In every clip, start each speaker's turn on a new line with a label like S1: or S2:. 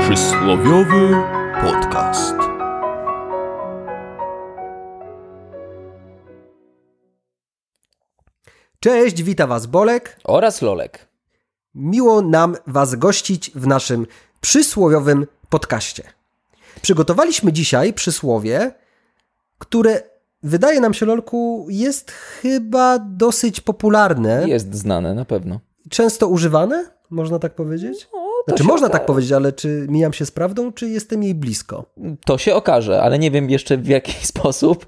S1: Przysłowiowy podcast.
S2: Cześć, wita Was Bolek.
S3: oraz Lolek.
S2: Miło nam Was gościć w naszym przysłowiowym podcaście. Przygotowaliśmy dzisiaj przysłowie, które wydaje nam się, Lolku, jest chyba dosyć popularne.
S3: Jest znane na pewno.
S2: Często używane, można tak powiedzieć? Znaczy,
S3: No, się
S2: można
S3: okaże.
S2: tak powiedzieć, ale czy mijam się z prawdą, czy jestem jej blisko?
S3: To się okaże, ale nie wiem jeszcze w jaki sposób.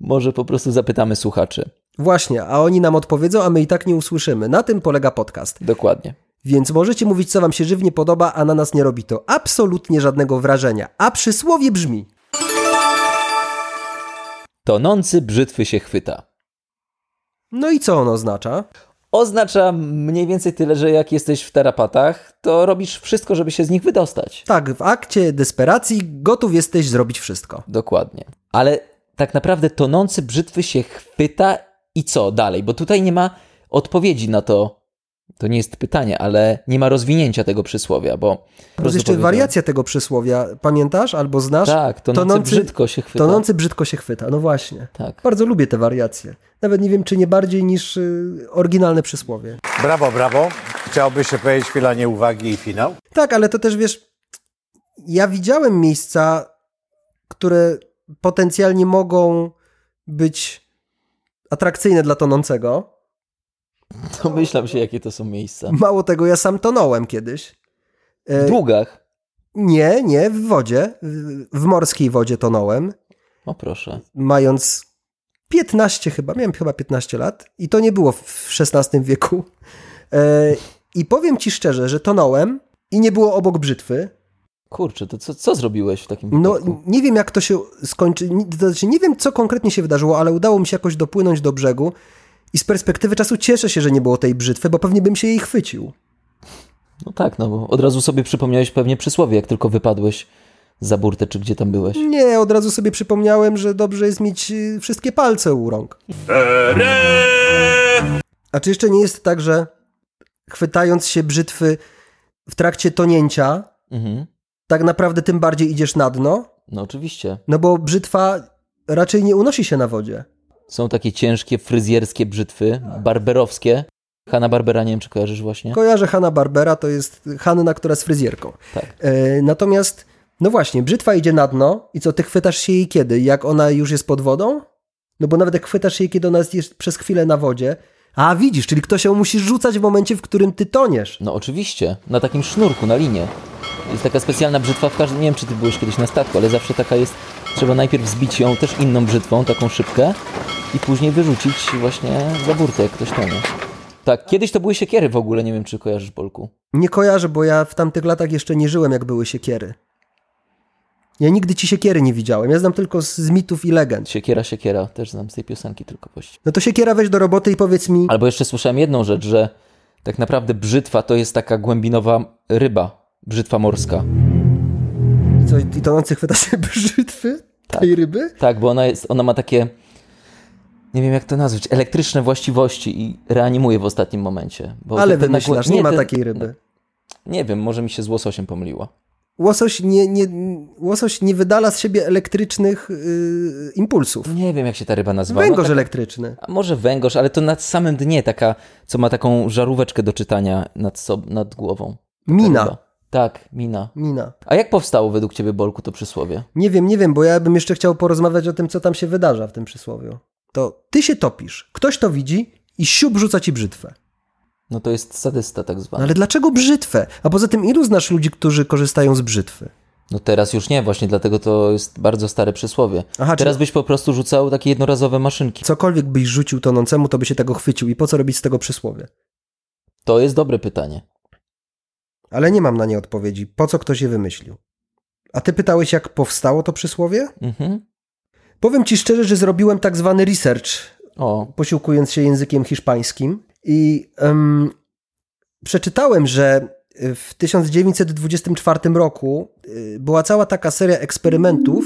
S3: Może po prostu zapytamy słuchaczy.
S2: Właśnie, a oni nam odpowiedzą, a my i tak nie usłyszymy. Na tym polega podcast.
S3: Dokładnie.
S2: Więc możecie mówić, co wam się żywnie podoba, a na nas nie robi to absolutnie żadnego wrażenia. A przysłowie brzmi:
S3: Tonący brzytwy się chwyta.
S2: No i co ono oznacza?
S3: Oznacza mniej więcej tyle, że jak jesteś w tarapatach, to robisz wszystko, żeby się z nich wydostać.
S2: Tak, w akcie desperacji gotów jesteś zrobić wszystko.
S3: Dokładnie. Ale tak naprawdę tonący brzytwy się chwyta i co dalej? Bo tutaj nie ma odpowiedzi na to. To nie jest pytanie, ale nie ma rozwinięcia tego przysłowia, bo. po
S2: Jest
S3: prostu
S2: jeszcze
S3: powiedziałem-
S2: wariacja tego przysłowia, pamiętasz albo znasz?
S3: Tak, tonący,
S2: Tonący-
S3: brzydko się chwyta.
S2: Tonący brzydko się chwyta, no właśnie.
S3: Tak.
S2: Bardzo lubię te wariacje. Nawet nie wiem, czy nie bardziej niż y, oryginalne przysłowie.
S4: Brawo, brawo. Chciałoby się powiedzieć chwila nieuwagi i finał.
S2: Tak, ale to też wiesz, ja widziałem miejsca, które potencjalnie mogą być atrakcyjne dla tonącego.
S3: Domyślam się, jakie to są miejsca.
S2: Mało tego, ja sam tonąłem kiedyś.
S3: W
S2: E,
S3: długach.
S2: nie, nie, w wodzie. W, w morskiej wodzie tonąłem,
S3: O No proszę.
S2: mając 15 chyba, miałem chyba 15 lat i to nie było w- w XVI wieku. E, I powiem ci szczerze, że tonąłem i nie było obok brzytwy.
S3: Kurczę, to co, co zrobiłeś w takim
S2: No,
S3: wypadku?
S2: nie wiem jak to się skończy, ni- to znaczy nie wiem co konkretnie się wydarzyło, ale udało mi się jakoś dopłynąć do brzegu i z perspektywy czasu cieszę się, że nie było tej brzytwy, bo pewnie bym się jej chwycił.
S3: No tak, no bo od razu sobie przypomniałeś pewnie przysłowie, jak tylko wypadłeś za burtę, czy gdzie tam byłeś.
S2: Nie, od razu sobie przypomniałem, że dobrze jest mieć y, wszystkie palce u rąk. A czy jeszcze nie jest tak, że chwytając się brzytwy w trakcie tonięcia,
S3: Mhm.
S2: tak naprawdę tym bardziej idziesz na dno?
S3: No oczywiście.
S2: No bo brzytwa raczej nie unosi się na wodzie.
S3: Są takie ciężkie, fryzjerskie brzytwy, barberowskie. Hanna Barbera, nie wiem, czy kojarzysz właśnie?
S2: Kojarzę Hanna Barbera, to jest Hanna, która z fryzjerką.
S3: Tak.
S2: E, natomiast, no właśnie, brzytwa idzie na dno i co, ty chwytasz się jej kiedy? Jak ona już jest pod wodą? No bo nawet jak chwytasz się jej, kiedy ona jest przez chwilę na wodzie, a widzisz, czyli ktoś ją musi rzucać w momencie, w którym ty toniesz.
S3: No oczywiście, na takim sznurku, na linie. Jest taka specjalna brzytwa w każdym, nie wiem czy ty byłeś kiedyś na statku, ale zawsze taka jest, trzeba najpierw zbić ją też inną brzytwą, taką szybkę i później wyrzucić właśnie za burtę, jak ktoś tonie. Tak, kiedyś to były siekiery w ogóle, nie wiem czy kojarzysz Polku.
S2: Nie kojarzę, bo ja w tamtych latach jeszcze nie żyłem, jak były siekiery. Ja nigdy ci siekiery nie widziałem, ja znam tylko z, z mitów i legend.
S3: Siekiera, siekiera, też znam z tej piosenki tylko właściwie.
S2: No to siekiera weź do roboty i powiedz mi,
S3: Albo jeszcze słyszałem jedną rzecz, że tak naprawdę brzytwa to jest taka głębinowa ryba, brzytwa morska.
S2: co, i tonący chwyta się brzytwy tej ryby?
S3: Tak, bo ona, jest, ona ma takie, nie wiem jak to nazwać, elektryczne właściwości i reanimuje w ostatnim momencie. Bo tak
S2: Ale
S3: te- te
S2: wymyślasz,
S3: nagłe-
S2: nie ma
S3: te-
S2: takiej ryby.
S3: Nie wiem, może mi się z łososiem pomyliła.
S2: Łosoś nie, nie, łosoś nie wydala z siebie elektrycznych yy, impulsów.
S3: Nie wiem jak się ta ryba nazywa. Ona
S2: Węgorz
S3: tak-
S2: elektryczny.
S3: a może węgorz, ale to na samym dnie taka, co ma taką żaróweczkę do czytania nad, sob, nad głową. Ta
S2: Mina.
S3: ryba. Tak, mina.
S2: Mina.
S3: A jak powstało według ciebie, Bolku, to przysłowie?
S2: Nie wiem, nie wiem, bo ja bym jeszcze chciał porozmawiać o tym, co tam się wydarza w tym przysłowiu. To ty się topisz, ktoś to widzi i siup rzuca ci brzytwę.
S3: No to jest sadysta tak zwany.
S2: No ale dlaczego brzytwę? A poza tym ilu znasz ludzi, którzy korzystają z brzytwy?
S3: No teraz już nie, właśnie dlatego to jest bardzo stare przysłowie.
S2: Aha,
S3: teraz byś po prostu rzucał takie jednorazowe maszynki.
S2: Cokolwiek byś rzucił tonącemu, to by się tego chwycił i po co robić z tego przysłowie?
S3: To jest dobre pytanie.
S2: Ale nie mam na nie odpowiedzi. Po co ktoś je wymyślił? A ty pytałeś, jak powstało to przysłowie?
S3: Mhm.
S2: Powiem ci szczerze, że zrobiłem tak zwany research
S3: O,
S2: posiłkując się językiem hiszpańskim. I em, przeczytałem, że w 1924 roku y, była cała taka seria eksperymentów,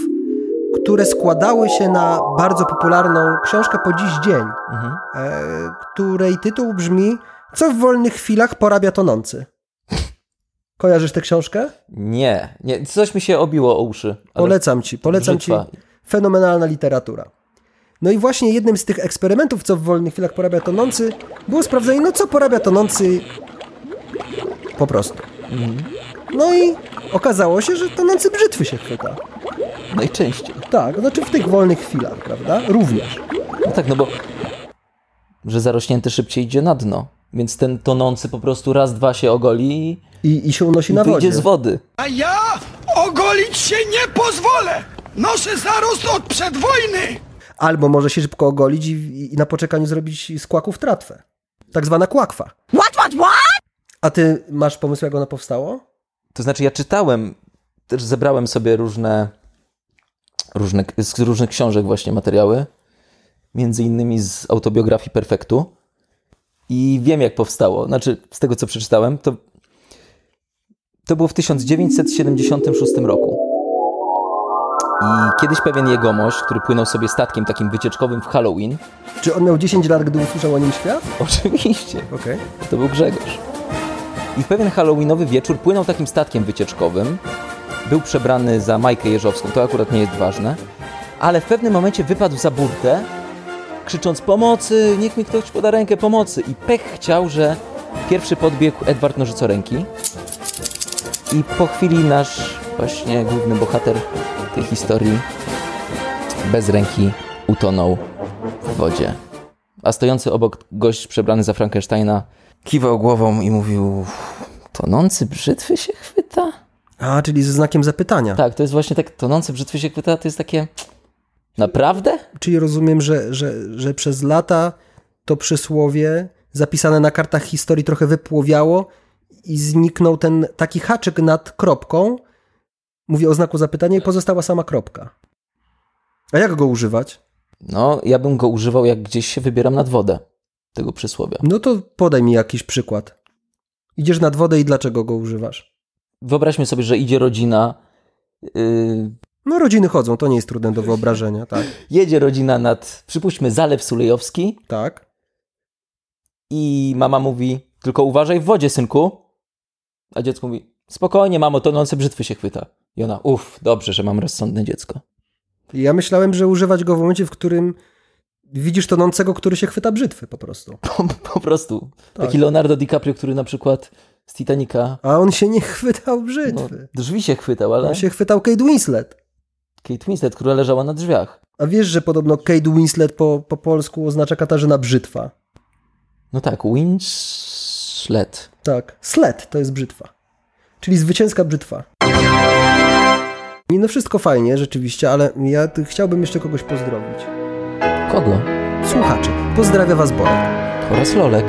S2: które składały się na bardzo popularną książkę po dziś dzień,
S3: mhm.
S2: e, której tytuł brzmi Co w wolnych chwilach porabia tonący? Kojarzysz tę książkę?
S3: Nie, nie, coś mi się obiło o uszy. ale-
S2: Polecam ci, polecam
S3: Brzytwa.
S2: ci. Fenomenalna literatura. No i właśnie jednym z tych eksperymentów, co w wolnych chwilach porabia tonący, było sprawdzenie, no co porabia tonący po prostu.
S3: Mhm.
S2: No i okazało się, że tonący brzytwy się chwyta.
S3: Najczęściej.
S2: Tak, znaczy w tych wolnych chwilach, prawda? Również.
S3: No tak, no bo że zarośnięty szybciej idzie na dno, więc ten tonący po prostu raz, dwa się ogoli i,
S2: I, i się unosi
S3: i
S2: na
S3: wyjdzie
S2: wodzie.
S3: z wody.
S1: A ja ogolić się nie pozwolę! Noszę zarost od przedwojny!
S2: Albo może się szybko ogolić i, i- i na poczekaniu zrobić z kłaków tratwę. Tak zwana kłakwa. What, what, what? A ty masz pomysł, jak ona powstało?
S3: To znaczy, ja czytałem, też zebrałem sobie różne, różne z różnych książek właśnie materiały, między innymi z autobiografii Perfektu i wiem jak powstało. Znaczy, z tego co przeczytałem, to, to było w 1976 roku. I kiedyś pewien jegomość, który płynął sobie statkiem takim wycieczkowym w Halloween,
S2: Czy on miał 10 lat, gdy usłyszał o nim świat?
S3: oczywiście,
S2: Okej.
S3: to był Grzegorz. I w pewien halloweenowy wieczór płynął takim statkiem wycieczkowym. Był przebrany za Majkę Jeżowską, to akurat nie jest ważne. Ale w pewnym momencie wypadł za burtę, krzycząc pomocy, niech mi ktoś poda rękę pomocy. I pech chciał, że pierwszy podbiegł Edward Nożycoręki. I po chwili nasz właśnie główny bohater tej historii bez ręki utonął w wodzie. A stojący obok gość przebrany za Frankensteina kiwał głową i mówił: Tonący brzytwy się chwyta?
S2: A, czyli ze znakiem zapytania.
S3: Tak, to jest właśnie tak. Tonący brzytwy się chwyta to jest takie. Naprawdę?
S2: Czyli rozumiem, że, że, że przez lata to przysłowie zapisane na kartach historii trochę wypłowiało i zniknął ten taki haczyk nad kropką. Mówię o znaku zapytania i pozostała sama kropka. A jak go używać?
S3: No, ja bym go używał, jak gdzieś się wybieram nad wodę. Tego przysłowia.
S2: No to podaj mi jakiś przykład. Idziesz nad wodę i dlaczego go używasz?
S3: Wyobraźmy sobie, że idzie rodzina. Yy,
S2: No rodziny chodzą, to nie jest trudne do wyobrażenia, tak?
S3: jedzie rodzina nad, przypuśćmy, Zalew Sulejowski
S2: Tak.
S3: i mama mówi: Tylko uważaj w wodzie, synku. A dziecko mówi: Spokojnie, mamo, tonący brzytwy się chwyta. I ona: Uff, dobrze, że mam rozsądne dziecko.
S2: Ja myślałem, że używać go w momencie, w którym widzisz tonącego, który się chwyta brzytwy po prostu.
S3: Po, po prostu.
S2: Tak.
S3: Taki Leonardo DiCaprio, który na przykład z Titanica
S2: A on się nie chwytał
S3: no,
S2: brzytwy.
S3: drzwi się chwytał, ale
S2: On się chwytał Kate Winslet.
S3: Kate Winslet, która leżała na drzwiach.
S2: A wiesz, że podobno Kate Winslet po, po polsku oznacza Katarzyna Brzytwa.
S3: No tak, Winslet.
S2: Tak. Sled to jest brzytwa. Czyli zwycięska brzytwa. Mimo wszystko fajnie, rzeczywiście, ale ja tu chciałbym jeszcze kogoś pozdrowić.
S3: Kogo?
S2: Słuchacze, pozdrawia Was Borek.
S3: Oraz Lolek.